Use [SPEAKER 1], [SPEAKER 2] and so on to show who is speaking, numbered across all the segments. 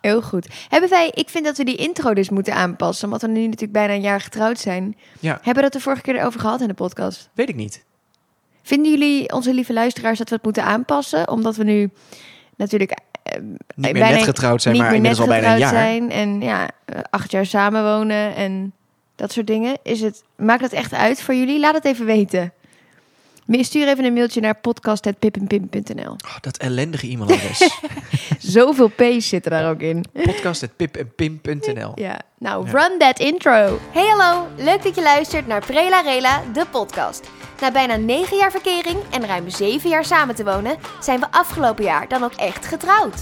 [SPEAKER 1] Heel goed. Hebben wij, ik vind dat we die intro dus moeten aanpassen, omdat we nu natuurlijk bijna een jaar getrouwd zijn.
[SPEAKER 2] Ja.
[SPEAKER 1] Hebben we dat de vorige keer over gehad in de podcast?
[SPEAKER 2] Weet ik niet.
[SPEAKER 1] Vinden jullie, onze lieve luisteraars, dat we het moeten aanpassen? Omdat we nu natuurlijk eh,
[SPEAKER 2] Niet meer
[SPEAKER 1] bijna
[SPEAKER 2] net getrouwd zijn,
[SPEAKER 1] niet
[SPEAKER 2] maar
[SPEAKER 1] meer net
[SPEAKER 2] inmiddels al bijna een
[SPEAKER 1] getrouwd zijn
[SPEAKER 2] jaar.
[SPEAKER 1] en ja, eh, acht jaar samenwonen en dat soort dingen. Is het, maakt het echt uit voor jullie? Laat het even weten. Stuur even een mailtje naar podcast.pippenpim.nl.
[SPEAKER 2] Oh, dat ellendige e-mailadres.
[SPEAKER 1] Zoveel P's zitten daar ook in.
[SPEAKER 2] Podcast.pipenpim.nl
[SPEAKER 1] Ja, nou,
[SPEAKER 2] Ja.
[SPEAKER 1] run that intro.
[SPEAKER 3] Hey hallo, leuk dat je luistert naar Prela Rela, de podcast. Na bijna 9 jaar verkering en ruim 7 jaar samen te wonen, zijn we afgelopen jaar dan ook echt getrouwd.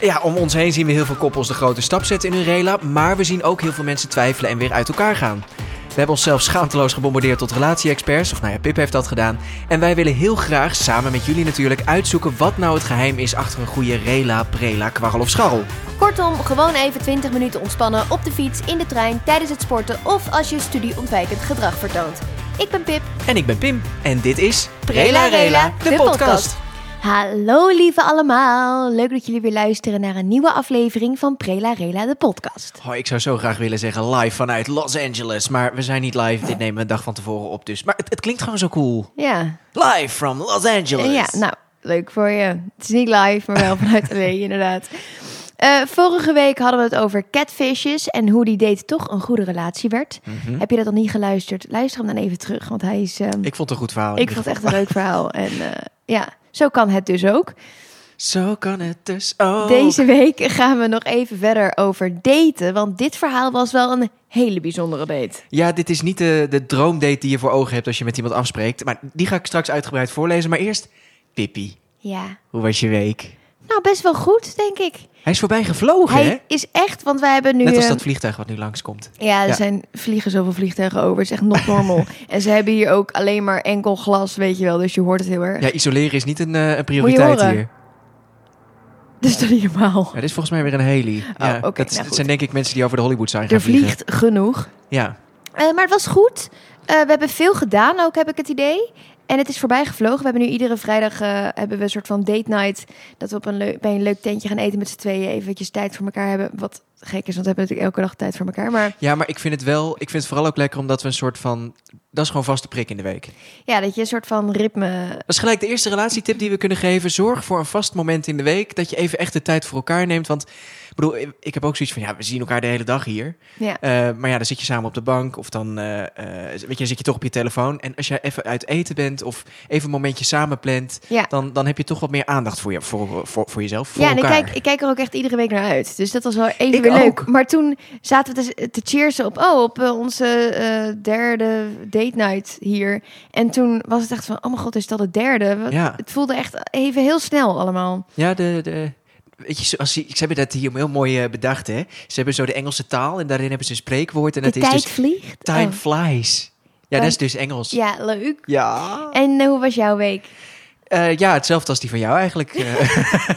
[SPEAKER 2] Ja, om ons heen zien we heel veel koppels de grote stap zetten in hun rela, maar we zien ook heel veel mensen twijfelen en weer uit elkaar gaan. We hebben onszelf schaamteloos gebombardeerd tot relatie-experts, of nou ja, Pip heeft dat gedaan. En wij willen heel graag, samen met jullie natuurlijk, uitzoeken wat nou het geheim is achter een goede rela, prela, kwarrel of scharrel.
[SPEAKER 3] Kortom, gewoon even 20 minuten ontspannen op de fiets, in de trein, tijdens het sporten of als je studieontwijkend gedrag vertoont. Ik ben Pip.
[SPEAKER 2] En ik ben Pim, en dit is
[SPEAKER 3] Prela Rela, de podcast.
[SPEAKER 1] Hallo lieve allemaal. Leuk dat jullie weer luisteren naar een nieuwe aflevering van Prela Rela de podcast.
[SPEAKER 2] Oh, ik zou zo graag willen zeggen live vanuit Los Angeles, maar we zijn niet live. Dit nemen we een dag van tevoren op, dus. Maar het, het klinkt gewoon zo cool.
[SPEAKER 1] Ja,
[SPEAKER 2] Live from Los Angeles.
[SPEAKER 1] ja nou, leuk voor je. Het is niet live, maar wel vanuit LA inderdaad. Eh, vorige week hadden we het over catfishes en hoe die date toch een goede relatie werd.
[SPEAKER 2] Mhm.
[SPEAKER 1] Heb je dat nog niet geluisterd? Luister hem dan even terug, want hij is... ehm, ik
[SPEAKER 2] Ik vond het een goed verhaal. in ieder
[SPEAKER 1] vond het
[SPEAKER 2] geval.
[SPEAKER 1] echt een leuk verhaal. En eh, ja, zo kan het dus ook.
[SPEAKER 2] Zo kan het dus ook.
[SPEAKER 1] Deze week gaan we nog even verder over daten, want dit verhaal was wel een hele bijzondere date.
[SPEAKER 2] Ja, dit is niet de, de droomdate die je voor ogen hebt als je met iemand afspreekt. Maar die ga ik straks uitgebreid voorlezen. Maar eerst, Pippi,
[SPEAKER 1] Ja.
[SPEAKER 2] hoe was je week?
[SPEAKER 1] Nou, best wel goed, denk ik.
[SPEAKER 2] Hij is voorbij gevlogen, hè?
[SPEAKER 1] Hij is echt, want wij hebben nu...
[SPEAKER 2] Net als
[SPEAKER 1] eh,
[SPEAKER 2] dat vliegtuig wat nu langskomt.
[SPEAKER 1] Ja, er
[SPEAKER 2] Ja.
[SPEAKER 1] zijn vliegen zoveel vliegtuigen over. Het is echt not normal. en ze hebben hier ook alleen maar enkel glas, weet je wel. Dus je hoort het heel erg.
[SPEAKER 2] Ja, isoleren is niet een, eh, een prioriteit
[SPEAKER 1] horen?
[SPEAKER 2] hier.
[SPEAKER 1] Dus dat is normaal.
[SPEAKER 2] Ja, dit is volgens mij weer een heli. ja,
[SPEAKER 1] oké,
[SPEAKER 2] dat, is-
[SPEAKER 1] nou
[SPEAKER 2] dat
[SPEAKER 1] goed.
[SPEAKER 2] zijn denk ik mensen die over de Hollywood zijn gaan
[SPEAKER 1] Er
[SPEAKER 2] vliegen.
[SPEAKER 1] vliegt genoeg.
[SPEAKER 2] Ja.
[SPEAKER 1] Eh, maar het was goed. Eh, we hebben veel gedaan ook, heb ik het idee. En het is voorbij gevlogen. We hebben nu iedere vrijdag eh, hebben we een soort van date night. Dat we op een leu- bij een leuk tentje gaan eten met z'n tweeën. Eventjes tijd voor elkaar hebben. Wat gek is, want we hebben natuurlijk elke dag tijd voor elkaar. Maar
[SPEAKER 2] ja, maar ik vind het wel... Ik vind het vooral ook lekker omdat we een soort van... Dat is gewoon vaste prik in de week.
[SPEAKER 1] ja, dat je een soort van ritme...
[SPEAKER 2] Dat is gelijk de eerste relatietip die we kunnen geven. Zorg voor een vast moment in de week dat je even echt de tijd voor elkaar neemt. Want ik bedoel, ik heb ook zoiets van, ja, we zien elkaar de hele dag hier.
[SPEAKER 1] Ja.
[SPEAKER 2] Eh, maar ja, dan zit je samen op de bank of dan, eh, eh, weet je, dan zit je toch op je telefoon. En als jij even uit eten bent of even een momentje samen plant,
[SPEAKER 1] Ja.
[SPEAKER 2] dan, dan heb je toch wat meer aandacht voor, je, voor, voor, voor jezelf, voor
[SPEAKER 1] ja, en ik
[SPEAKER 2] elkaar.
[SPEAKER 1] kijk, ik kijk er ook echt iedere week naar uit. Dus dat was wel even
[SPEAKER 2] Ik
[SPEAKER 1] weer
[SPEAKER 2] ook.
[SPEAKER 1] leuk. Maar toen zaten we te, te cheersen op, oh, op eh, onze eh, derde date night hier. En toen was het echt van, oh mijn god, is dat het derde? Wat-
[SPEAKER 2] Ja.
[SPEAKER 1] Het voelde echt even heel snel allemaal.
[SPEAKER 2] Ja, de... de Weet je, zoals, die- ze hebben dat hier heel mooi eh, bedacht, hè? Ze hebben zo de Engelse taal en daarin hebben ze een spreekwoord. En
[SPEAKER 1] De
[SPEAKER 2] dat is
[SPEAKER 1] tijd
[SPEAKER 2] dus
[SPEAKER 1] vliegt.
[SPEAKER 2] time
[SPEAKER 1] Oh.
[SPEAKER 2] flies. Ja,
[SPEAKER 1] Time-
[SPEAKER 2] dat is dus Engels.
[SPEAKER 1] Ja, leuk.
[SPEAKER 2] ja.
[SPEAKER 1] En eh, hoe was jouw week?
[SPEAKER 2] Eh, ja, hetzelfde als die van jou eigenlijk. eh.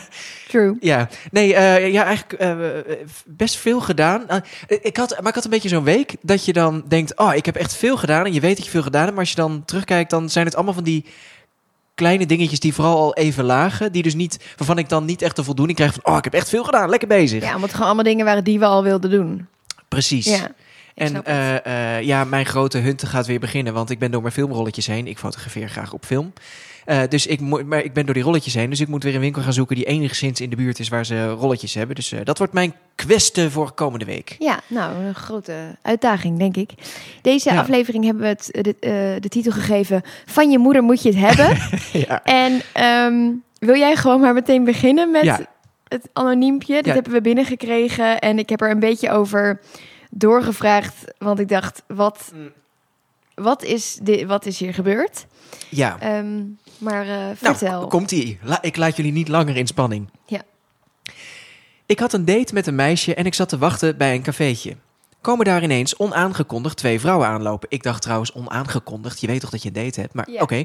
[SPEAKER 1] True.
[SPEAKER 2] ja, nee, eh, ja, eigenlijk eh, best veel gedaan. Eh, ik had, maar ik had een beetje zo'n week dat je dan denkt: Oh, ik heb echt veel gedaan. En je weet dat je veel gedaan hebt. Maar als je dan terugkijkt, dan zijn het allemaal van die kleine dingetjes die vooral al even lagen. Die dus niet, waarvan ik dan niet echt de voldoening krijg van: Oh, ik heb echt veel gedaan. Lekker bezig.
[SPEAKER 1] Ja, omdat het gewoon allemaal dingen waren die we al wilden doen.
[SPEAKER 2] Precies.
[SPEAKER 1] Ja. ik
[SPEAKER 2] En
[SPEAKER 1] snap het.
[SPEAKER 2] eh, eh, ja, mijn grote hunte gaat weer beginnen, want ik ben door mijn filmrolletjes heen. Ik fotografeer graag op film. Eh, dus ik, moet- maar ik ben door die rolletjes heen, dus ik moet weer een winkel gaan zoeken die enigszins in de buurt is waar ze rolletjes hebben. Dus eh, dat wordt mijn kwestie voor komende week.
[SPEAKER 1] Ja, nou, een grote uitdaging, denk ik. Deze
[SPEAKER 2] Ja.
[SPEAKER 1] aflevering hebben we het, eh, de, eh, de titel gegeven... Van je moeder moet je het hebben.
[SPEAKER 2] ja.
[SPEAKER 1] En ehm, wil jij gewoon maar meteen beginnen met
[SPEAKER 2] Ja.
[SPEAKER 1] het anoniempje? Dit
[SPEAKER 2] Ja.
[SPEAKER 1] hebben we binnengekregen en ik heb er een beetje over doorgevraagd. Want ik dacht, wat,
[SPEAKER 2] Mm.
[SPEAKER 1] wat, is, di- wat is hier gebeurd?
[SPEAKER 2] ja.
[SPEAKER 1] Ehm, maar eh,
[SPEAKER 2] Nou,
[SPEAKER 1] vertel.
[SPEAKER 2] k- komt ie. La- ik laat jullie niet langer in spanning.
[SPEAKER 1] Ja.
[SPEAKER 2] Ik had een date met een meisje en ik zat te wachten bij een cafeetje. Komen daar ineens onaangekondigd twee vrouwen aanlopen. Ik dacht trouwens onaangekondigd. Je weet toch dat je een date hebt, maar
[SPEAKER 1] Ja.
[SPEAKER 2] oké.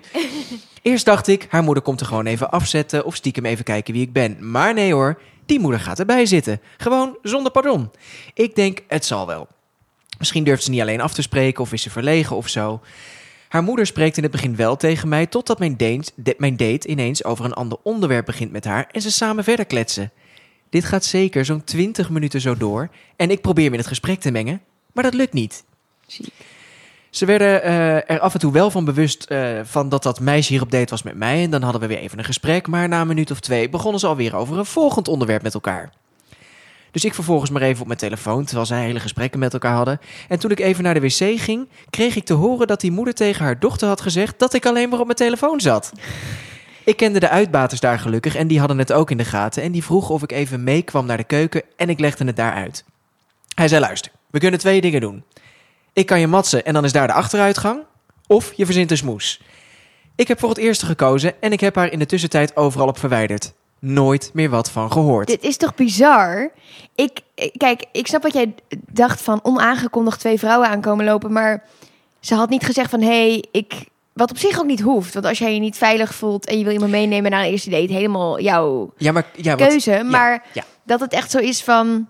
[SPEAKER 2] Eerst dacht ik, haar moeder komt er gewoon even afzetten of stiekem even kijken wie ik ben. Maar nee hoor, die moeder gaat erbij zitten. Gewoon zonder pardon. Ik denk, het zal wel. Misschien durft ze niet alleen af te spreken of is ze verlegen of zo. Haar moeder spreekt in het begin wel tegen mij, totdat mijn date, de- mijn date ineens over een ander onderwerp begint met haar en ze samen verder kletsen. Dit gaat zeker zo'n 20 minuten zo door. En ik probeer me in het gesprek te mengen, maar dat lukt niet.
[SPEAKER 1] Ziek.
[SPEAKER 2] Ze werden eh, er af en toe wel van bewust eh, van dat dat meisje hier op date was met mij. En dan hadden we weer even een gesprek. Maar na een minuut of twee begonnen ze alweer over een volgend onderwerp met elkaar. Dus ik vervolgens maar even op mijn telefoon, terwijl zij hele gesprekken met elkaar hadden. En toen ik even naar de wc ging, kreeg ik te horen dat die moeder tegen haar dochter had gezegd dat ik alleen maar op mijn telefoon zat. Ik kende de uitbaters daar gelukkig en die hadden het ook in de gaten. En die vroegen of ik even meekwam naar de keuken en ik legde het daar uit. Hij zei, luister, we kunnen twee dingen doen. Ik kan je matsen en dan is daar de achteruitgang. Of je verzint een smoes. Ik heb voor het eerste gekozen en ik heb haar in de tussentijd overal op verwijderd. Nooit meer wat van gehoord.
[SPEAKER 1] Dit is toch bizar? Ik, ik- kijk, ik snap wat jij dacht van onaangekondigd twee vrouwen aankomen lopen. Maar ze had niet gezegd van, hé, hey, ik... Wat op zich ook niet hoeft. Want als jij je niet veilig voelt en je wil iemand meenemen naar een eerste date... helemaal jouw
[SPEAKER 2] Ja, maar ja, wat,
[SPEAKER 1] keuze. maar
[SPEAKER 2] ja.
[SPEAKER 1] dat het echt zo is van...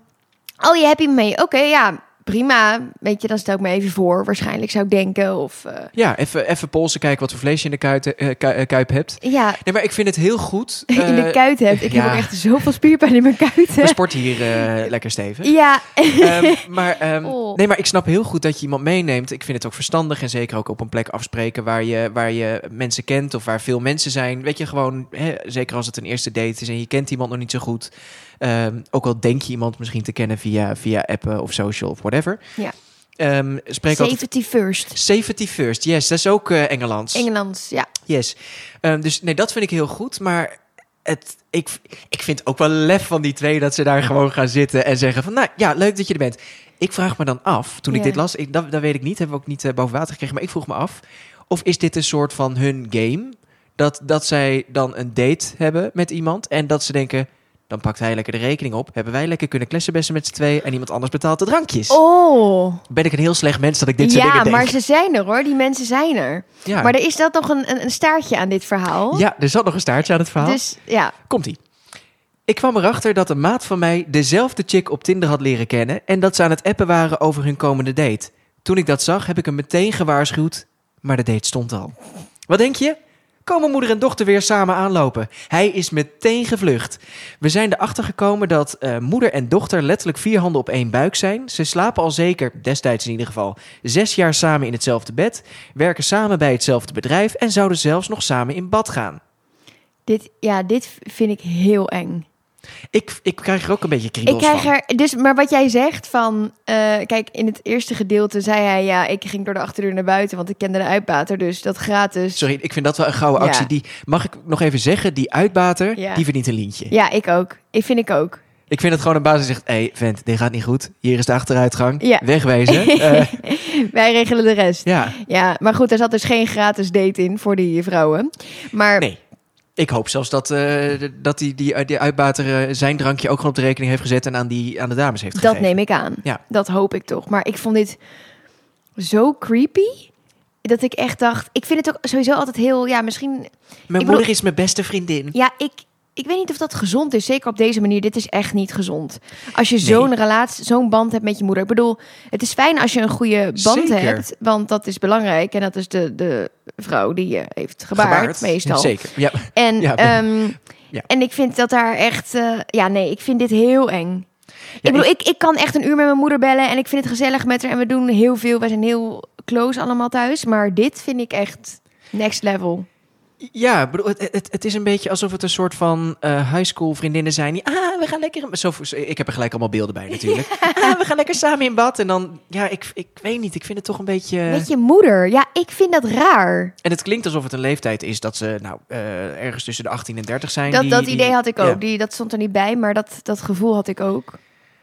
[SPEAKER 1] Oh, je hebt iemand mee. Oké, ja, prima. Weet je, dan stel ik me even voor. Waarschijnlijk zou ik denken. Of eh,
[SPEAKER 2] ja even, even polsen kijken wat voor vlees je in de kuit, eh, ku- eh, kuip hebt.
[SPEAKER 1] ja,
[SPEAKER 2] Nee, maar ik vind het heel goed.
[SPEAKER 1] in de
[SPEAKER 2] eh,
[SPEAKER 1] kuit hebt. Ik
[SPEAKER 2] ja.
[SPEAKER 1] heb ook echt zoveel spierpijn in mijn
[SPEAKER 2] We
[SPEAKER 1] kuiten.
[SPEAKER 2] sporten hier eh, lekker stevig.
[SPEAKER 1] Ja,
[SPEAKER 2] Ehm, maar, ehm,
[SPEAKER 1] Oh.
[SPEAKER 2] Nee, maar ik snap heel goed dat je iemand meeneemt. Ik vind het ook verstandig en zeker ook op een plek afspreken waar je, waar je mensen kent of waar veel mensen zijn. Weet je gewoon, hè, zeker als het een eerste date is en je kent iemand nog niet zo goed. ehm, ook al denk je iemand misschien te kennen via, via appen of social of whatever.
[SPEAKER 1] Ja.
[SPEAKER 2] Ehm, spreek altijd.
[SPEAKER 1] 70 first.
[SPEAKER 2] Safety first, yes, dat is ook eh Engelands.
[SPEAKER 1] Engelands, ja.
[SPEAKER 2] Yes. Ehm, dus nee, dat vind ik heel goed. Maar het, ik, ik vind ook wel lef van die twee dat ze daar gewoon gaan zitten en zeggen van, nou ja, leuk dat je er bent. Ik vraag me dan af, toen ik
[SPEAKER 1] Ja.
[SPEAKER 2] dit las, ik, dat, dat weet ik niet, hebben we ook niet eh, boven water gekregen, maar ik vroeg me af, of is dit een soort van hun game? Dat, dat zij dan een date hebben met iemand en dat ze denken, dan pakt hij lekker de rekening op, hebben wij lekker kunnen klessenbessen met z'n twee en iemand anders betaalt de drankjes.
[SPEAKER 1] Oh.
[SPEAKER 2] Ben ik een heel slecht mens dat ik dit soort
[SPEAKER 1] Ja,
[SPEAKER 2] dingen denk?
[SPEAKER 1] maar ze zijn er hoor. Die mensen zijn er.
[SPEAKER 2] ja.
[SPEAKER 1] Maar er is dat nog een, een, een staartje aan dit verhaal.
[SPEAKER 2] ja, er zat nog een staartje aan het verhaal.
[SPEAKER 1] Dus ja.
[SPEAKER 2] Komt ie. Ik kwam erachter dat een maat van mij dezelfde chick op Tinder had leren kennen en dat ze aan het appen waren over hun komende date. Toen ik dat zag, heb ik hem meteen gewaarschuwd, maar de date stond al. Wat denk je? Komen moeder en dochter weer samen aanlopen. Hij is meteen gevlucht. We zijn erachter gekomen dat eh, moeder en dochter letterlijk vier handen op één buik zijn. Ze slapen al zeker, destijds in ieder geval, zes jaar samen in hetzelfde bed, werken samen bij hetzelfde bedrijf en zouden zelfs nog samen in bad gaan.
[SPEAKER 1] Dit, ja, dit vind ik heel eng.
[SPEAKER 2] Ik, ik krijg er ook een beetje kriebels
[SPEAKER 1] Ik krijg
[SPEAKER 2] van.
[SPEAKER 1] er, dus, maar wat jij zegt van, eh, kijk, in het eerste gedeelte zei hij, ja, ik ging door de achterdeur naar buiten, want ik kende de uitbater, dus dat gratis.
[SPEAKER 2] Sorry, ik vind dat wel een gouden actie.
[SPEAKER 1] Ja.
[SPEAKER 2] Die, mag ik nog even zeggen, die uitbater,
[SPEAKER 1] Ja.
[SPEAKER 2] die verdient een lientje.
[SPEAKER 1] Ja, ik ook. Ik vind ik ook.
[SPEAKER 2] Ik vind het gewoon een baas die zegt, hé hey, vent, dit gaat niet goed. Hier is de achteruitgang.
[SPEAKER 1] Ja.
[SPEAKER 2] Wegwezen. Eh,
[SPEAKER 1] Wij regelen de rest.
[SPEAKER 2] ja,
[SPEAKER 1] Ja, maar goed, er zat dus geen gratis date in voor die vrouwen. Maar
[SPEAKER 2] nee. Ik hoop zelfs dat, eh, dat die, die, die uitbater eh, zijn drankje ook gewoon op de rekening heeft gezet en aan, die, aan de dames heeft
[SPEAKER 1] Dat
[SPEAKER 2] gegeven.
[SPEAKER 1] neem ik aan.
[SPEAKER 2] Ja.
[SPEAKER 1] Dat hoop ik toch. Maar ik vond dit zo creepy. Dat ik echt dacht. Ik vind het ook sowieso altijd heel. Ja, misschien.
[SPEAKER 2] Mijn
[SPEAKER 1] Ik
[SPEAKER 2] moeder is mijn beste vriendin.
[SPEAKER 1] Ja, ik. Ik weet niet of dat gezond is. Zeker op deze manier. Dit is echt niet gezond. Als je zo'n relatie, zo'n band hebt met je moeder. Ik bedoel, het is fijn als je een goede band
[SPEAKER 2] Zeker.
[SPEAKER 1] hebt. Want dat is belangrijk. En dat is de, de vrouw die je heeft gebaard, meestal.
[SPEAKER 2] Zeker, ja.
[SPEAKER 1] En,
[SPEAKER 2] Ja,
[SPEAKER 1] ehm,
[SPEAKER 2] ja.
[SPEAKER 1] en ik vind dat daar echt... eh, ja, nee, ik vind dit heel eng. ik bedoel, ik, ik kan echt een uur met mijn moeder bellen en ik vind het gezellig met haar. En we doen heel veel. Wij zijn heel close allemaal thuis. Maar dit vind ik echt next level.
[SPEAKER 2] Ja, ik bedoel, het, het, het is een beetje alsof het een soort van eh high school vriendinnen zijn. Die, ah, we gaan lekker... in- Zo, ik heb er gelijk allemaal beelden bij natuurlijk. Ah, we gaan lekker samen in bad. En dan, ja, ik, ik weet niet. Ik vind het toch een beetje...
[SPEAKER 1] Met je moeder. Ja, ik vind dat raar.
[SPEAKER 2] En het klinkt alsof het een leeftijd is dat ze nou eh, ergens tussen de 18 en 30 zijn.
[SPEAKER 1] Dat,
[SPEAKER 2] die-
[SPEAKER 1] dat
[SPEAKER 2] die-
[SPEAKER 1] idee had ik ook.
[SPEAKER 2] ja.
[SPEAKER 1] Die, dat stond er niet bij, maar dat, dat gevoel had ik ook.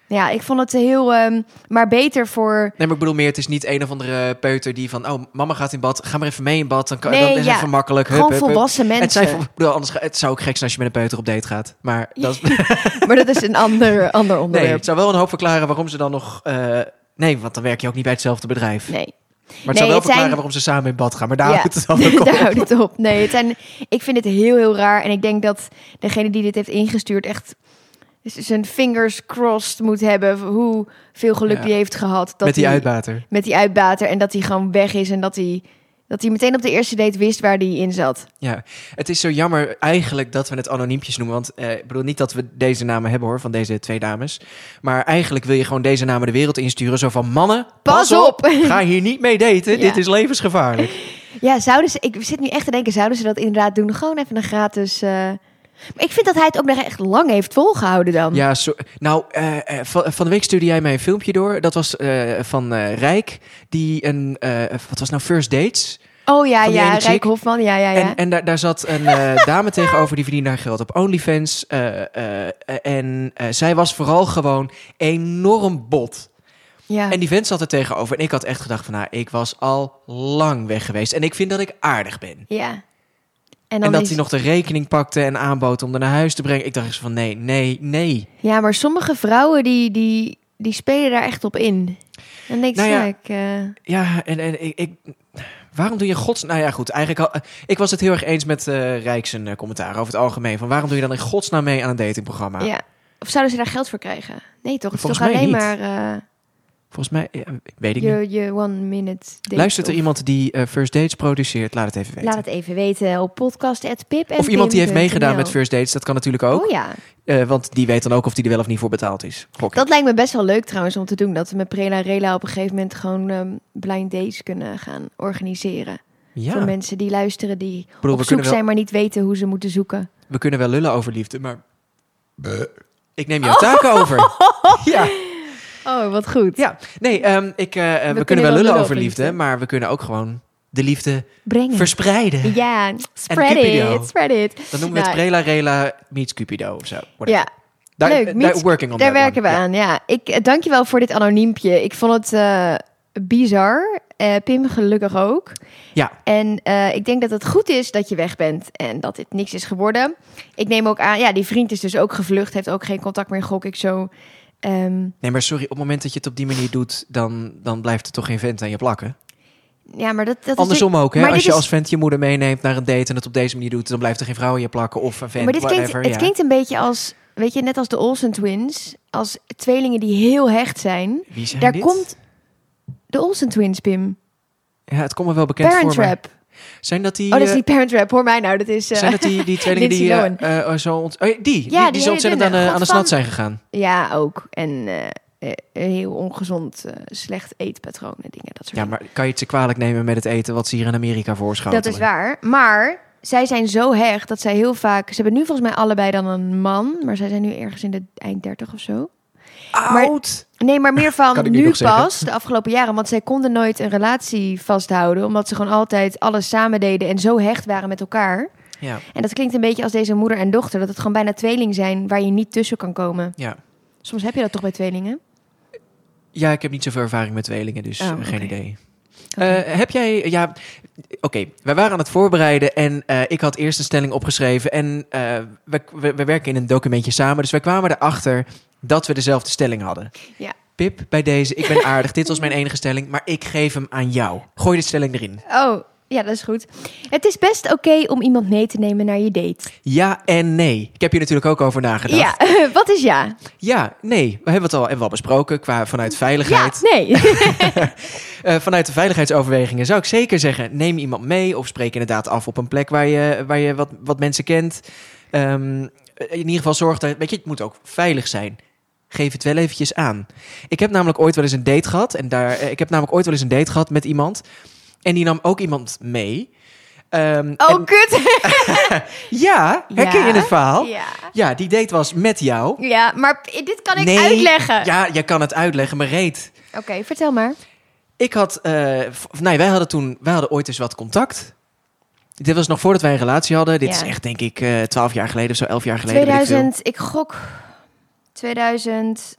[SPEAKER 1] Ja, ik vond het heel... ehm, maar beter voor...
[SPEAKER 2] Nee, maar ik bedoel meer, het is niet een of andere peuter die van... Oh, mama gaat in bad, ga maar even mee in bad. Dan, kan,
[SPEAKER 1] Nee,
[SPEAKER 2] dan is het
[SPEAKER 1] ja.
[SPEAKER 2] even makkelijk. Hup,
[SPEAKER 1] Gewoon
[SPEAKER 2] hup, hup.
[SPEAKER 1] volwassen
[SPEAKER 2] Het,
[SPEAKER 1] mensen.
[SPEAKER 2] zijn, vol- ik bedoel, anders, ga- het zou ook gek zijn als je met een peuter op date gaat. Maar dat is,
[SPEAKER 1] Maar dat is een ander, ander
[SPEAKER 2] nee,
[SPEAKER 1] onderwerp.
[SPEAKER 2] het zou wel een hoop verklaren waarom ze dan nog... eh, nee, want dan werk je ook niet bij hetzelfde bedrijf.
[SPEAKER 1] nee.
[SPEAKER 2] Maar het
[SPEAKER 1] Nee,
[SPEAKER 2] zou wel
[SPEAKER 1] het
[SPEAKER 2] verklaren
[SPEAKER 1] zijn-
[SPEAKER 2] waarom ze samen in bad gaan. Maar daar
[SPEAKER 1] Ja.
[SPEAKER 2] houdt het dan ook op.
[SPEAKER 1] Daar houdt het op. Nee, het zijn, ik vind het heel, heel raar. En ik denk dat degene die dit heeft ingestuurd echt z- zijn fingers crossed moet hebben... voor hoeveel geluk
[SPEAKER 2] Ja.
[SPEAKER 1] die heeft gehad. Dat
[SPEAKER 2] Met die
[SPEAKER 1] hij-
[SPEAKER 2] uitbater.
[SPEAKER 1] Met die uitbater. En dat hij gewoon weg is en dat hij Dat hij meteen op de eerste date wist waar hij in zat.
[SPEAKER 2] Ja, het is zo jammer eigenlijk dat we het anoniempjes noemen. Want eh, ik bedoel niet dat we deze namen hebben hoor, van deze twee dames. Maar eigenlijk wil je gewoon deze namen de wereld insturen. Zo van mannen, pas,
[SPEAKER 1] Pas
[SPEAKER 2] op.
[SPEAKER 1] op.
[SPEAKER 2] Ga hier niet mee daten,
[SPEAKER 1] Ja.
[SPEAKER 2] dit is levensgevaarlijk.
[SPEAKER 1] Ja, zouden ze, ik zit nu echt te denken, zouden ze dat inderdaad doen? Gewoon even een gratis... eh, Maar ik vind dat hij het ook nog echt lang heeft volgehouden dan.
[SPEAKER 2] Ja, zo, nou, eh, eh, van, van de week stuurde jij mij een filmpje door. Dat was eh, van eh, Rijk, die een, eh, wat was nou, First Dates?
[SPEAKER 1] Oh ja,
[SPEAKER 2] Van die
[SPEAKER 1] ja,
[SPEAKER 2] ene
[SPEAKER 1] Rijk
[SPEAKER 2] chick.
[SPEAKER 1] Hofman, ja, Ah, ja, ja.
[SPEAKER 2] En, en daar, daar zat een eh, dame tegenover die verdiende haar geld op OnlyFans. eh, eh, eh, en eh, zij was vooral gewoon enorm bot.
[SPEAKER 1] ja.
[SPEAKER 2] En die vent zat er tegenover. En ik had echt gedacht van, nou, ik was al lang weg geweest. En ik vind dat ik aardig ben. En,
[SPEAKER 1] ja. En dan
[SPEAKER 2] dat
[SPEAKER 1] is-
[SPEAKER 2] hij nog de rekening pakte en aanbood om haar naar huis te brengen. Ik dacht eens van, nee, nee, nee.
[SPEAKER 1] Ja, maar sommige vrouwen die, die, die spelen daar echt op in. Dan denk ik,
[SPEAKER 2] Nou
[SPEAKER 1] ja,
[SPEAKER 2] ja.
[SPEAKER 1] ik, eh,
[SPEAKER 2] Ja, en, en ik... ik Waarom doe je in gods... Nou ja, goed. Eigenlijk al- ik was het heel erg eens met eh Rijk zijn eh, commentaar over het algemeen. Van waarom doe je dan in godsnaam mee aan een datingprogramma?
[SPEAKER 1] ja. Of zouden ze daar geld voor krijgen? Nee, toch? Het is
[SPEAKER 2] Volgens
[SPEAKER 1] toch
[SPEAKER 2] mij
[SPEAKER 1] alleen
[SPEAKER 2] niet.
[SPEAKER 1] maar eh,
[SPEAKER 2] Volgens mij... ja, weet ik
[SPEAKER 1] je,
[SPEAKER 2] niet.
[SPEAKER 1] je one minute. date
[SPEAKER 2] Luistert er
[SPEAKER 1] of-
[SPEAKER 2] iemand die eh, First Dates produceert? Laat het even weten.
[SPEAKER 1] Laat het even weten op podcast.pip.
[SPEAKER 2] of iemand die heeft meegedaan met First Dates, dat kan natuurlijk ook.
[SPEAKER 1] Oh ja,
[SPEAKER 2] Eh, want die weet dan ook of die er wel of niet voor betaald is. Gok ik.
[SPEAKER 1] dat lijkt me best wel leuk trouwens om te doen. Dat we met Prela en Rela op een gegeven moment gewoon ehm, blind dates kunnen gaan organiseren.
[SPEAKER 2] ja.
[SPEAKER 1] Voor mensen die luisteren, die
[SPEAKER 2] Ik bedoel,
[SPEAKER 1] op
[SPEAKER 2] we,
[SPEAKER 1] zoek
[SPEAKER 2] kunnen wel,
[SPEAKER 1] zijn, maar niet weten hoe ze moeten zoeken.
[SPEAKER 2] we kunnen wel lullen over liefde, maar... Ik neem jouw taak over. Ja,
[SPEAKER 1] Oh, wat goed.
[SPEAKER 2] ja. nee, ehm, ik, eh, we, kunnen, wel lullen, over liefde, maar we kunnen ook gewoon de liefde
[SPEAKER 1] Brengen.
[SPEAKER 2] verspreiden.
[SPEAKER 1] Ja, spread
[SPEAKER 2] Cupido.
[SPEAKER 1] it, spread it.
[SPEAKER 2] Dan noemen we het
[SPEAKER 1] Nou,
[SPEAKER 2] Prela Rela meets Cupido of zo. Whatever.
[SPEAKER 1] Ja,
[SPEAKER 2] daar,
[SPEAKER 1] leuk,
[SPEAKER 2] daar-
[SPEAKER 1] meets-
[SPEAKER 2] working on
[SPEAKER 1] daar
[SPEAKER 2] that
[SPEAKER 1] werken we
[SPEAKER 2] one. Ja.
[SPEAKER 1] aan. Ja, ik eh, dank je wel voor dit anoniempje. Ik vond het eh, bizar. Eh, Pim gelukkig ook.
[SPEAKER 2] Ja.
[SPEAKER 1] En eh, ik denk dat het goed is dat je weg bent en dat dit niks is geworden. Ik neem ook aan, ja, die vriend is dus ook gevlucht, heeft ook geen contact meer, gok ik zo. Ehm,
[SPEAKER 2] Nee, maar sorry, op het moment dat je het op die manier doet, dan, dan blijft er toch geen vent aan je plakken.
[SPEAKER 1] ja, maar dat, dat is...
[SPEAKER 2] Andersom ook, hè?
[SPEAKER 1] maar
[SPEAKER 2] Als
[SPEAKER 1] dit
[SPEAKER 2] je
[SPEAKER 1] is-
[SPEAKER 2] als vent je moeder meeneemt naar een date en het op deze manier doet, dan blijft er geen vrouw aan je plakken of een vent,
[SPEAKER 1] dus- maar dit klinkt,
[SPEAKER 2] whatever.
[SPEAKER 1] het
[SPEAKER 2] ja.
[SPEAKER 1] klinkt een beetje als, weet je, net als de Olsen Twins. Als tweelingen die heel hecht zijn.
[SPEAKER 2] Wie zijn
[SPEAKER 1] Daar
[SPEAKER 2] dit?
[SPEAKER 1] komt de Olsen Twins, Pim.
[SPEAKER 2] Ja, het komt me wel bekend
[SPEAKER 1] Parent
[SPEAKER 2] voor, maar...
[SPEAKER 1] Trap.
[SPEAKER 2] Zijn dat die...
[SPEAKER 1] Oh, dat is
[SPEAKER 2] eh,
[SPEAKER 1] niet Parent Trap, hoor mij nou. Dat is... eh,
[SPEAKER 2] Zijn dat die, die tweelingen die
[SPEAKER 1] Lindsay
[SPEAKER 2] eh, eh, eh, zo ont- oh, die, die,
[SPEAKER 1] die
[SPEAKER 2] die,
[SPEAKER 1] hele
[SPEAKER 2] zo ontzettend
[SPEAKER 1] dunne.
[SPEAKER 2] aan, de- aan
[SPEAKER 1] God,
[SPEAKER 2] de snat
[SPEAKER 1] van-
[SPEAKER 2] zijn gegaan?
[SPEAKER 1] Ja, ook. En eh, eh, heel ongezond, eh, slecht eetpatronen, dingen, dat soort
[SPEAKER 2] Ja, maar kan je het ze kwalijk nemen met het eten wat ze hier in Amerika voorschotelen?
[SPEAKER 1] dingen. Dat is waar. Maar zij zijn zo hecht dat zij heel vaak... Ze hebben nu volgens mij allebei dan een man. Maar zij zijn nu ergens in de eind 30 of zo. Maar-
[SPEAKER 2] Oud!
[SPEAKER 1] Nee, maar meer
[SPEAKER 2] Kan
[SPEAKER 1] van
[SPEAKER 2] ik nu
[SPEAKER 1] nu
[SPEAKER 2] nog zeggen.
[SPEAKER 1] pas, de afgelopen jaren. Want zij konden nooit een relatie vasthouden. Omdat ze gewoon altijd alles samen deden en zo hecht waren met elkaar.
[SPEAKER 2] Ja,
[SPEAKER 1] En dat klinkt een beetje als deze moeder en dochter. Dat het gewoon bijna tweeling zijn waar je niet tussen kan komen.
[SPEAKER 2] ja.
[SPEAKER 1] Soms heb je dat toch bij tweelingen?
[SPEAKER 2] ja, ik heb niet zoveel ervaring met tweelingen, dus
[SPEAKER 1] Oh,
[SPEAKER 2] eh, geen
[SPEAKER 1] oké.
[SPEAKER 2] idee. Eh, heb jij, ja, oké, wij waren aan het voorbereiden en eh, ik had eerst een stelling opgeschreven en eh, we, we, we werken in een documentje samen, dus wij kwamen erachter dat we dezelfde stelling hadden.
[SPEAKER 1] Ja.
[SPEAKER 2] Pip, bij deze, ik ben aardig, dit was mijn enige stelling, maar ik geef hem aan jou. Gooi de stelling erin.
[SPEAKER 1] Oh, ja, dat is goed. Het is best oké om iemand mee te nemen naar je date.
[SPEAKER 2] Ja en nee. Ik heb hier natuurlijk ook over nagedacht. Ja,
[SPEAKER 1] Ja, wat is ja?
[SPEAKER 2] nee. We hebben het al, hebben we al besproken qua, vanuit
[SPEAKER 1] Ja,
[SPEAKER 2] veiligheid.
[SPEAKER 1] nee.
[SPEAKER 2] Eh, vanuit de veiligheidsoverwegingen zou ik zeker zeggen... neem iemand mee of spreek inderdaad af op een plek waar je, waar je wat, wat mensen kent. Ehm, in ieder geval zorg dat... Weet je, het moet ook veilig zijn. Geef het wel eventjes aan. Ik heb namelijk ooit wel eens een date gehad. En daar, eh, ik heb namelijk ooit wel eens een date gehad met iemand. En die nam ook iemand mee. Ehm,
[SPEAKER 1] Oh,
[SPEAKER 2] en-
[SPEAKER 1] kut.
[SPEAKER 2] ja, herken je
[SPEAKER 1] Ja.
[SPEAKER 2] het verhaal? Ja.
[SPEAKER 1] Ja.
[SPEAKER 2] die date was met jou.
[SPEAKER 1] ja, maar p- dit kan ik
[SPEAKER 2] Nee.
[SPEAKER 1] uitleggen.
[SPEAKER 2] Ja, jij kan het uitleggen, maar reet.
[SPEAKER 1] Oké, vertel maar.
[SPEAKER 2] Ik had, eh, v- nee, wij hadden toen, wij hadden ooit eens wat contact. Dit was nog voordat wij een relatie hadden. Dit
[SPEAKER 1] Ja.
[SPEAKER 2] is echt, denk ik, eh, twaalf jaar geleden of zo, elf jaar geleden. weet ik veel.
[SPEAKER 1] 2000, ik gok 2000.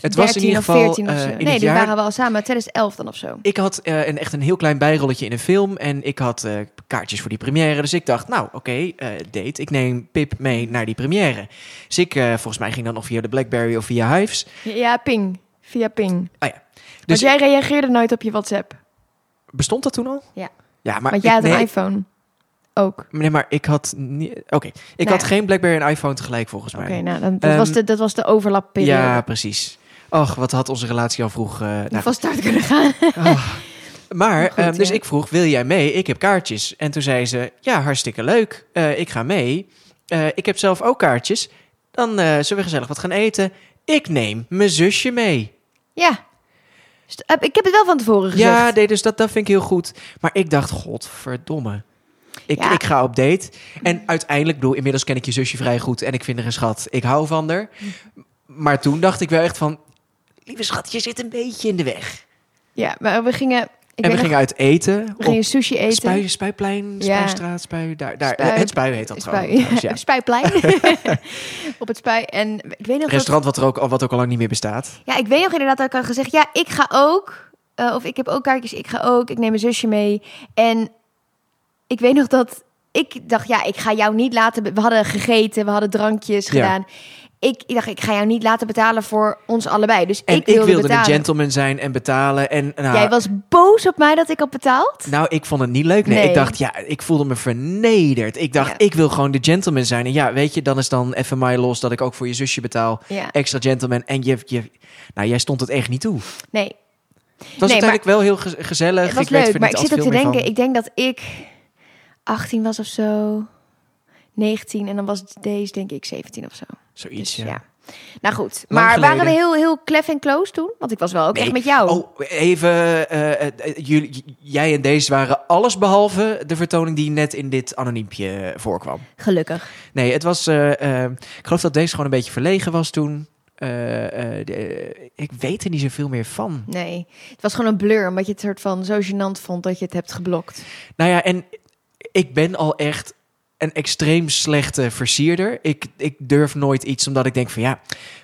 [SPEAKER 2] Het was in ieder geval
[SPEAKER 1] of 14 of
[SPEAKER 2] eh,
[SPEAKER 1] zo.
[SPEAKER 2] in
[SPEAKER 1] nee,
[SPEAKER 2] het
[SPEAKER 1] die
[SPEAKER 2] jaar-
[SPEAKER 1] waren we al samen. 2011 dan of zo.
[SPEAKER 2] Ik had eh, een, echt een heel klein bijrolletje in een film en ik had eh, kaartjes voor die première. Dus ik dacht, nou oké, eh, date, ik neem Pip mee naar die première. Dus ik, eh, volgens mij ging dan of via de Blackberry of via Hives.
[SPEAKER 1] Ja, ping. Via ping.
[SPEAKER 2] Ah ja.
[SPEAKER 1] Dus
[SPEAKER 2] Dus
[SPEAKER 1] jij reageerde nooit op je WhatsApp.
[SPEAKER 2] bestond dat toen al?
[SPEAKER 1] Ja.
[SPEAKER 2] Ja, maar
[SPEAKER 1] want jij
[SPEAKER 2] ik-
[SPEAKER 1] had een
[SPEAKER 2] nee,
[SPEAKER 1] iPhone. Ook. Oké,
[SPEAKER 2] Nee, maar ik had niet. Oké, ik
[SPEAKER 1] Nou
[SPEAKER 2] had
[SPEAKER 1] ja.
[SPEAKER 2] geen Blackberry en iPhone tegelijk volgens mij.
[SPEAKER 1] nou, dan, dat,
[SPEAKER 2] Ehm,
[SPEAKER 1] was de, dat was de overlapperiode.
[SPEAKER 2] ja, precies. Och, wat had onze relatie al vroeg. eh, nou,
[SPEAKER 1] van start kunnen gaan.
[SPEAKER 2] ah. Maar,
[SPEAKER 1] Goed,
[SPEAKER 2] ehm, dus
[SPEAKER 1] ja.
[SPEAKER 2] ik vroeg, wil jij mee? Ik heb kaartjes. En toen zei ze, ja, hartstikke leuk. Eh, ik ga mee. Eh, ik heb zelf ook kaartjes. Dan eh, zullen we gezellig wat gaan eten. Ik neem mijn zusje mee.
[SPEAKER 1] Ja. St- heb- Ik heb het wel van tevoren gezegd.
[SPEAKER 2] Ja, nee, dus dat, dat vind ik heel goed. Maar ik dacht, godverdomme. Ik,
[SPEAKER 1] Ja.
[SPEAKER 2] ik ga op date. En uiteindelijk, ik bedoel, inmiddels ken ik je zusje vrij goed. En ik vind haar een schat. Ik hou van haar. Maar toen dacht ik wel echt van... Lieve schat, je zit een beetje in de weg.
[SPEAKER 1] Ja, maar we gingen, ik weet
[SPEAKER 2] en we
[SPEAKER 1] nog,
[SPEAKER 2] gingen uit eten.
[SPEAKER 1] we gingen sushi eten.
[SPEAKER 2] Spui, spuiplein,
[SPEAKER 1] Ja.
[SPEAKER 2] spuistraat, spui... Daar, daar.
[SPEAKER 1] Spui-
[SPEAKER 2] het spui heet dat
[SPEAKER 1] Spui-
[SPEAKER 2] trouwens. ja.
[SPEAKER 1] Spuiplein. Op het spui. En ik weet nog dat-
[SPEAKER 2] Restaurant wat, er ook, al- wat ook al lang niet meer bestaat.
[SPEAKER 1] Ja, ik weet nog inderdaad dat ik had gezegd... ja, ik ga ook. eh, of ik heb ook kaartjes, ik ga ook. Ik neem mijn zusje mee. En ik weet nog dat ik dacht... ja, ik ga jou niet laten... be- We hadden gegeten, we hadden drankjes
[SPEAKER 2] Ja.
[SPEAKER 1] gedaan. Ik, ik dacht, ik ga jou niet laten betalen voor ons allebei. Dus
[SPEAKER 2] En
[SPEAKER 1] ik wilde,
[SPEAKER 2] een
[SPEAKER 1] betalen.
[SPEAKER 2] gentleman zijn en betalen. En, nou,
[SPEAKER 1] Jij was boos op mij dat ik had betaald?
[SPEAKER 2] Nou, ik vond het niet leuk. Nee,
[SPEAKER 1] Nee.
[SPEAKER 2] ik dacht, ja, ik voelde me vernederd. Ik dacht,
[SPEAKER 1] Ja.
[SPEAKER 2] ik wil gewoon de gentleman zijn. En ja, weet je, dan is dan even mij los dat ik ook voor je zusje betaal.
[SPEAKER 1] Ja,
[SPEAKER 2] Extra gentleman. En je, je, nou, jij stond het echt niet toe. Het
[SPEAKER 1] nee.
[SPEAKER 2] was
[SPEAKER 1] Nee,
[SPEAKER 2] uiteindelijk wel heel gez- gezellig.
[SPEAKER 1] Het was
[SPEAKER 2] ik Eh, weet
[SPEAKER 1] leuk,
[SPEAKER 2] er
[SPEAKER 1] maar
[SPEAKER 2] niet
[SPEAKER 1] ik
[SPEAKER 2] al
[SPEAKER 1] zit ook te
[SPEAKER 2] veel meer
[SPEAKER 1] denken.
[SPEAKER 2] van.
[SPEAKER 1] Ik denk dat ik 18 was of zo. 19 en dan was deze denk ik 17 of zo.
[SPEAKER 2] Zoiets,
[SPEAKER 1] Dus
[SPEAKER 2] ja.
[SPEAKER 1] Nou goed,
[SPEAKER 2] Lang
[SPEAKER 1] maar waren we
[SPEAKER 2] geleden.
[SPEAKER 1] heel, heel klef en close toen? Want ik was wel ook
[SPEAKER 2] Nee.
[SPEAKER 1] echt met jou.
[SPEAKER 2] Oh, even, eh, eh, eh, jullie, j- jij en deze waren alles behalve de vertoning die net in dit anoniempje eh, voorkwam.
[SPEAKER 1] Gelukkig.
[SPEAKER 2] Nee, het was. eh, eh, ik geloof dat deze gewoon een beetje verlegen was toen. Eh, eh, de- eh, ik weet er niet zoveel meer van.
[SPEAKER 1] Nee, het was gewoon een blur omdat je het soort van zo gênant vond dat je het hebt geblokt.
[SPEAKER 2] Nou ja, en ik ben al echt een extreem slechte versierder. Ik, ik durf nooit iets omdat ik denk van ja,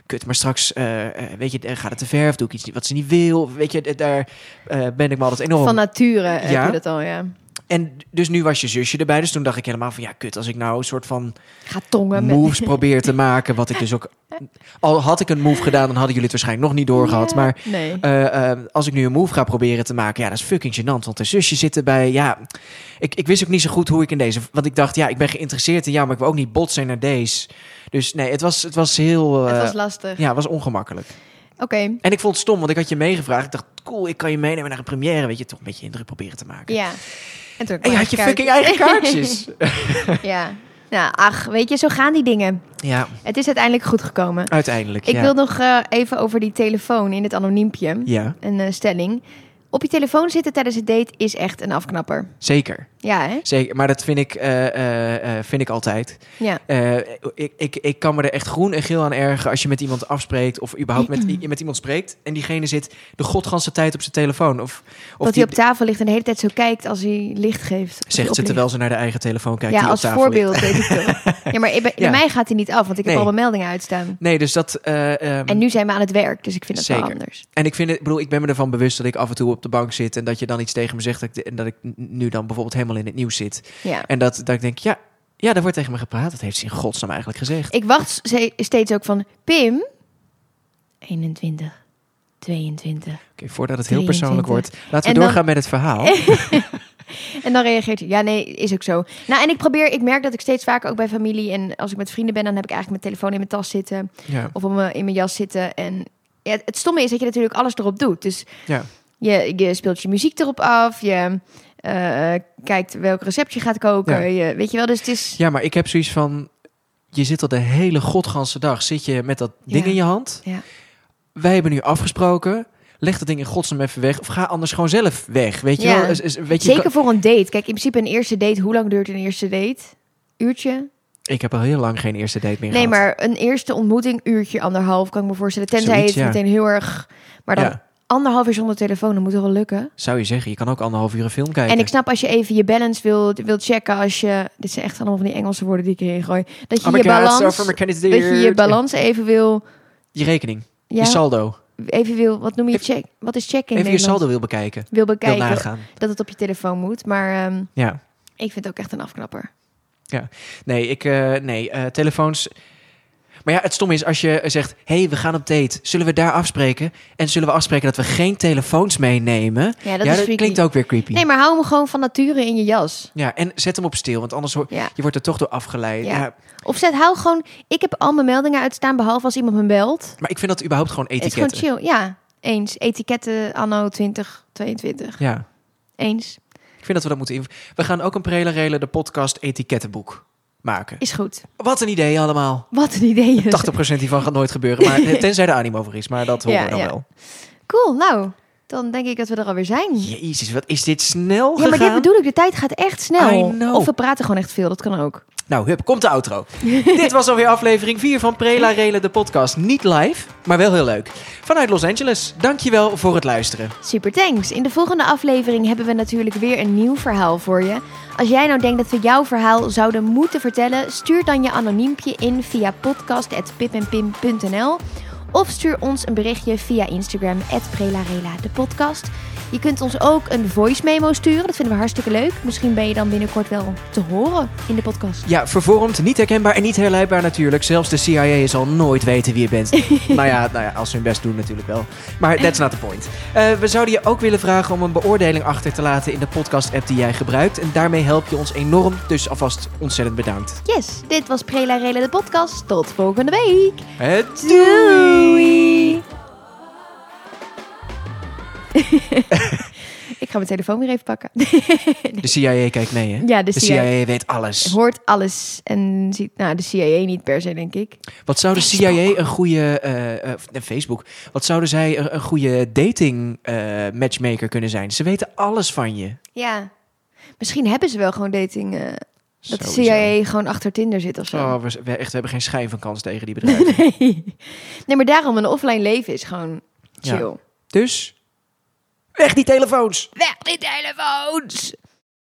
[SPEAKER 2] kut, maar straks eh, eh, weet je, eh, gaat het te ver of doe ik iets niet wat ze niet wil. Weet je, eh, daar eh, ben ik me altijd enorm.
[SPEAKER 1] Van nature
[SPEAKER 2] Ja.
[SPEAKER 1] heb je dat al, ja.
[SPEAKER 2] En dus nu was je zusje erbij, dus toen dacht ik helemaal van ja, kut, als ik nou een soort van
[SPEAKER 1] Ga tongen. met-
[SPEAKER 2] moves probeer te maken, wat ik dus ook... Al had ik een move gedaan, dan hadden jullie het waarschijnlijk nog niet doorgehad,
[SPEAKER 1] Ja,
[SPEAKER 2] maar...
[SPEAKER 1] Nee.
[SPEAKER 2] Eh, eh, als ik nu een move ga proberen te maken, ja, dat is fucking gênant. Want de zusje zit erbij. Ja, ik, ik wist ook niet zo goed hoe ik in deze. Want ik dacht, ja, ik ben geïnteresseerd in jou, maar ik wil ook niet botsen naar deze. Dus nee, het was, het was heel. eh,
[SPEAKER 1] het was lastig.
[SPEAKER 2] ja, het was ongemakkelijk.
[SPEAKER 1] Oké.
[SPEAKER 2] En ik vond het stom, want ik had je meegevraagd. Ik dacht, cool, ik kan je meenemen naar een première. Weet je, toch een beetje indruk proberen te maken.
[SPEAKER 1] Ja. En toen
[SPEAKER 2] En je had je fucking eigen kaartjes.
[SPEAKER 1] ja. Nou, ach, weet je, zo gaan die dingen.
[SPEAKER 2] ja,
[SPEAKER 1] Het is uiteindelijk goed gekomen.
[SPEAKER 2] uiteindelijk.
[SPEAKER 1] Ik
[SPEAKER 2] ja.
[SPEAKER 1] wil nog eh, even over die telefoon in het anoniempje.
[SPEAKER 2] Ja,
[SPEAKER 1] Een eh, stelling. Op je telefoon zitten tijdens het date is echt een afknapper.
[SPEAKER 2] zeker.
[SPEAKER 1] Ja, hè?
[SPEAKER 2] zeker. Maar dat vind ik, eh, eh, eh, vind ik altijd.
[SPEAKER 1] Ja.
[SPEAKER 2] Eh, ik, ik, ik kan me er echt groen en geel aan ergeren als je met iemand afspreekt of überhaupt met, i- met iemand spreekt en diegene zit de godganse tijd op zijn telefoon. Of, of
[SPEAKER 1] dat hij op tafel ligt en de hele tijd zo kijkt als hij licht geeft. Of hij
[SPEAKER 2] zegt ze
[SPEAKER 1] oplicht.
[SPEAKER 2] terwijl ze naar de eigen telefoon kijkt.
[SPEAKER 1] Ja,
[SPEAKER 2] die
[SPEAKER 1] als
[SPEAKER 2] op tafel ligt.
[SPEAKER 1] voorbeeld weet ik veel. Ja, maar ik ben- bij
[SPEAKER 2] Ja.
[SPEAKER 1] mij gaat hij niet af, want ik heb
[SPEAKER 2] Nee.
[SPEAKER 1] al mijn meldingen uitstaan.
[SPEAKER 2] Nee, dus dat. eh, ehm,
[SPEAKER 1] En nu zijn we aan het werk, dus ik vind dat wel
[SPEAKER 2] Zeker.
[SPEAKER 1] anders.
[SPEAKER 2] En ik, vind het, ik bedoel, ik ben me ervan bewust dat ik af en toe op de bank zit en dat je dan iets tegen me zegt dat ik, de- en dat ik n- nu dan bijvoorbeeld helemaal in het nieuws zit.
[SPEAKER 1] Ja.
[SPEAKER 2] En dat, dat ik denk, ja, ja, daar wordt tegen me gepraat. Dat heeft ze in godsnaam eigenlijk gezegd.
[SPEAKER 1] Ik wacht ze- steeds ook van Pim. 21, 22.
[SPEAKER 2] Oké, voordat het heel persoonlijk
[SPEAKER 1] 23.
[SPEAKER 2] wordt, laten
[SPEAKER 1] En dan-
[SPEAKER 2] we
[SPEAKER 1] Eh.
[SPEAKER 2] doorgaan met het verhaal.
[SPEAKER 1] En dan reageert hij. Ja, nee, is ook zo. Nou, en ik probeer, ik merk dat ik steeds vaker ook bij familie en als ik met vrienden ben, dan heb ik eigenlijk mijn telefoon in mijn tas zitten.
[SPEAKER 2] Ja,
[SPEAKER 1] of om eh, in mijn jas zitten. En ja, het stomme is dat je natuurlijk alles erop doet. Dus
[SPEAKER 2] ja.
[SPEAKER 1] je, je speelt je muziek erop af, je eh, kijkt welk recept je gaat koken. Je, weet je wel, dus het is...
[SPEAKER 2] Ja, maar ik heb zoiets van... Je zit al de hele godganse dag zit je met dat ding
[SPEAKER 1] Ja.
[SPEAKER 2] in je hand.
[SPEAKER 1] Ja.
[SPEAKER 2] Wij hebben nu afgesproken. Leg dat ding in godsnaam even weg. Of ga anders gewoon zelf weg. Weet je
[SPEAKER 1] Ja.
[SPEAKER 2] wel? Is- is- weet je,
[SPEAKER 1] Zeker
[SPEAKER 2] kan-
[SPEAKER 1] voor een date. Kijk, in principe een eerste date, hoe lang duurt een eerste date? Uurtje?
[SPEAKER 2] Ik heb al heel lang geen eerste date meer
[SPEAKER 1] Nee,
[SPEAKER 2] gehad.
[SPEAKER 1] maar een eerste ontmoeting, uurtje, anderhalf, kan ik me voorstellen. Tenzij
[SPEAKER 2] Zoiets,
[SPEAKER 1] het
[SPEAKER 2] ja.
[SPEAKER 1] meteen heel erg... Maar dan
[SPEAKER 2] Ja,
[SPEAKER 1] anderhalf uur zonder telefoon, dat moet toch wel lukken?
[SPEAKER 2] zou je zeggen. Je kan ook anderhalf uur een film kijken.
[SPEAKER 1] En ik snap als je even je balance wilt, wilt checken, als je... Dit zijn echt allemaal van die Engelse woorden die ik hierin gooi. Dat je
[SPEAKER 2] Oh my
[SPEAKER 1] je
[SPEAKER 2] God,
[SPEAKER 1] balans...
[SPEAKER 2] over
[SPEAKER 1] Dat
[SPEAKER 2] mijn kandidaat.
[SPEAKER 1] je je balans even wil...
[SPEAKER 2] Je rekening.
[SPEAKER 1] Ja,
[SPEAKER 2] Je saldo.
[SPEAKER 1] even wil... Wat noem je
[SPEAKER 2] Even-
[SPEAKER 1] check? Wat is check in
[SPEAKER 2] Even je
[SPEAKER 1] Nederland?
[SPEAKER 2] saldo wil bekijken.
[SPEAKER 1] Wil
[SPEAKER 2] Wil
[SPEAKER 1] bekijken
[SPEAKER 2] nagaan.
[SPEAKER 1] dat het op je telefoon moet. Maar ehm,
[SPEAKER 2] Ja.
[SPEAKER 1] ik vind het ook echt een afknapper.
[SPEAKER 2] Nee, ik, eh, nee eh, telefoons. Maar ja, het stom is als je zegt: hey, we gaan op date. Zullen we daar afspreken? En zullen we afspreken dat we geen telefoons meenemen?
[SPEAKER 1] Ja, dat
[SPEAKER 2] ja,
[SPEAKER 1] is
[SPEAKER 2] dat
[SPEAKER 1] freaky.
[SPEAKER 2] klinkt ook weer creepy.
[SPEAKER 1] Nee, maar hou hem gewoon van nature in je jas.
[SPEAKER 2] Ja, en zet hem op stil, want anders hoor,
[SPEAKER 1] Ja.
[SPEAKER 2] je wordt er toch door afgeleid.
[SPEAKER 1] Ja.
[SPEAKER 2] Ja.
[SPEAKER 1] Of zet, hou gewoon... Ik heb al mijn meldingen uitstaan, behalve als iemand me belt.
[SPEAKER 2] maar ik vind dat überhaupt gewoon
[SPEAKER 1] Het is
[SPEAKER 2] etiketten.
[SPEAKER 1] gewoon chill. Ja, eens. Etiketten anno 2022.
[SPEAKER 2] Ja.
[SPEAKER 1] Eens.
[SPEAKER 2] Ik vind dat we dat moeten inv- We gaan ook een Prela Rela de podcast etikettenboek maken.
[SPEAKER 1] Is goed.
[SPEAKER 2] Wat een idee allemaal.
[SPEAKER 1] Wat een idee.
[SPEAKER 2] 80% hiervan gaat nooit gebeuren, maar eh, tenzij er animo voor is. Maar dat horen
[SPEAKER 1] Ja,
[SPEAKER 2] we dan
[SPEAKER 1] ja.
[SPEAKER 2] wel.
[SPEAKER 1] Cool, nou. Dan denk ik dat we er alweer zijn.
[SPEAKER 2] Jezus, wat is dit snel
[SPEAKER 1] Ja, maar dit
[SPEAKER 2] gegaan?
[SPEAKER 1] bedoel ik. De tijd gaat echt
[SPEAKER 2] I
[SPEAKER 1] snel.
[SPEAKER 2] know.
[SPEAKER 1] Of we praten gewoon echt veel. Dat kan ook.
[SPEAKER 2] Nou, hup, komt de outro. Dit was alweer aflevering 4 van Prela Rela, de podcast. Niet live, maar wel heel leuk. Vanuit Los Angeles, dankjewel voor het luisteren.
[SPEAKER 1] Super thanks. In de volgende aflevering hebben we natuurlijk weer een nieuw verhaal voor je. Als jij nou denkt dat we jouw verhaal zouden moeten vertellen, stuur dan je anoniempje in via podcast.pipenpim.nl of stuur ons een berichtje via Instagram @prelarela de podcast. Je kunt ons ook een voice memo sturen. Dat vinden we hartstikke leuk. Misschien ben je dan binnenkort wel te horen in de podcast.
[SPEAKER 2] Ja, vervormd, niet herkenbaar en niet herleidbaar natuurlijk. Zelfs de CIA zal nooit weten wie je bent. nou, ja, nou ja, als ze hun best doen natuurlijk wel. Maar that's not the point. Eh, we zouden je ook willen vragen om een beoordeling achter te laten in de podcast-app die jij gebruikt. En daarmee help je ons enorm, dus alvast ontzettend bedankt.
[SPEAKER 1] Yes, dit was Prelarela de podcast. Tot volgende week.
[SPEAKER 2] Het
[SPEAKER 1] Doei! ik ga mijn telefoon weer even pakken.
[SPEAKER 2] De CIA kijkt mee, hè?
[SPEAKER 1] ja, de
[SPEAKER 2] De
[SPEAKER 1] CIA,
[SPEAKER 2] CIA weet alles.
[SPEAKER 1] hoort alles en ziet... Nou, de CIA niet per se, denk ik.
[SPEAKER 2] Wat zou de
[SPEAKER 1] Facebook.
[SPEAKER 2] CIA een goede... eh, eh, f- eh, Facebook. Wat zouden zij een, een goede dating eh, matchmaker kunnen zijn? Ze weten alles van je.
[SPEAKER 1] Ja. Misschien hebben ze wel gewoon dating... eh, dat de
[SPEAKER 2] Sowieso.
[SPEAKER 1] CIA gewoon achter Tinder zit of zo.
[SPEAKER 2] Oh, we, we- echt, we hebben geen schijn van kans tegen die bedrijven.
[SPEAKER 1] Nee. nee, maar daarom een offline leven is gewoon
[SPEAKER 2] Ja.
[SPEAKER 1] chill.
[SPEAKER 2] Dus, weg die telefoons!
[SPEAKER 1] Weg die telefoons!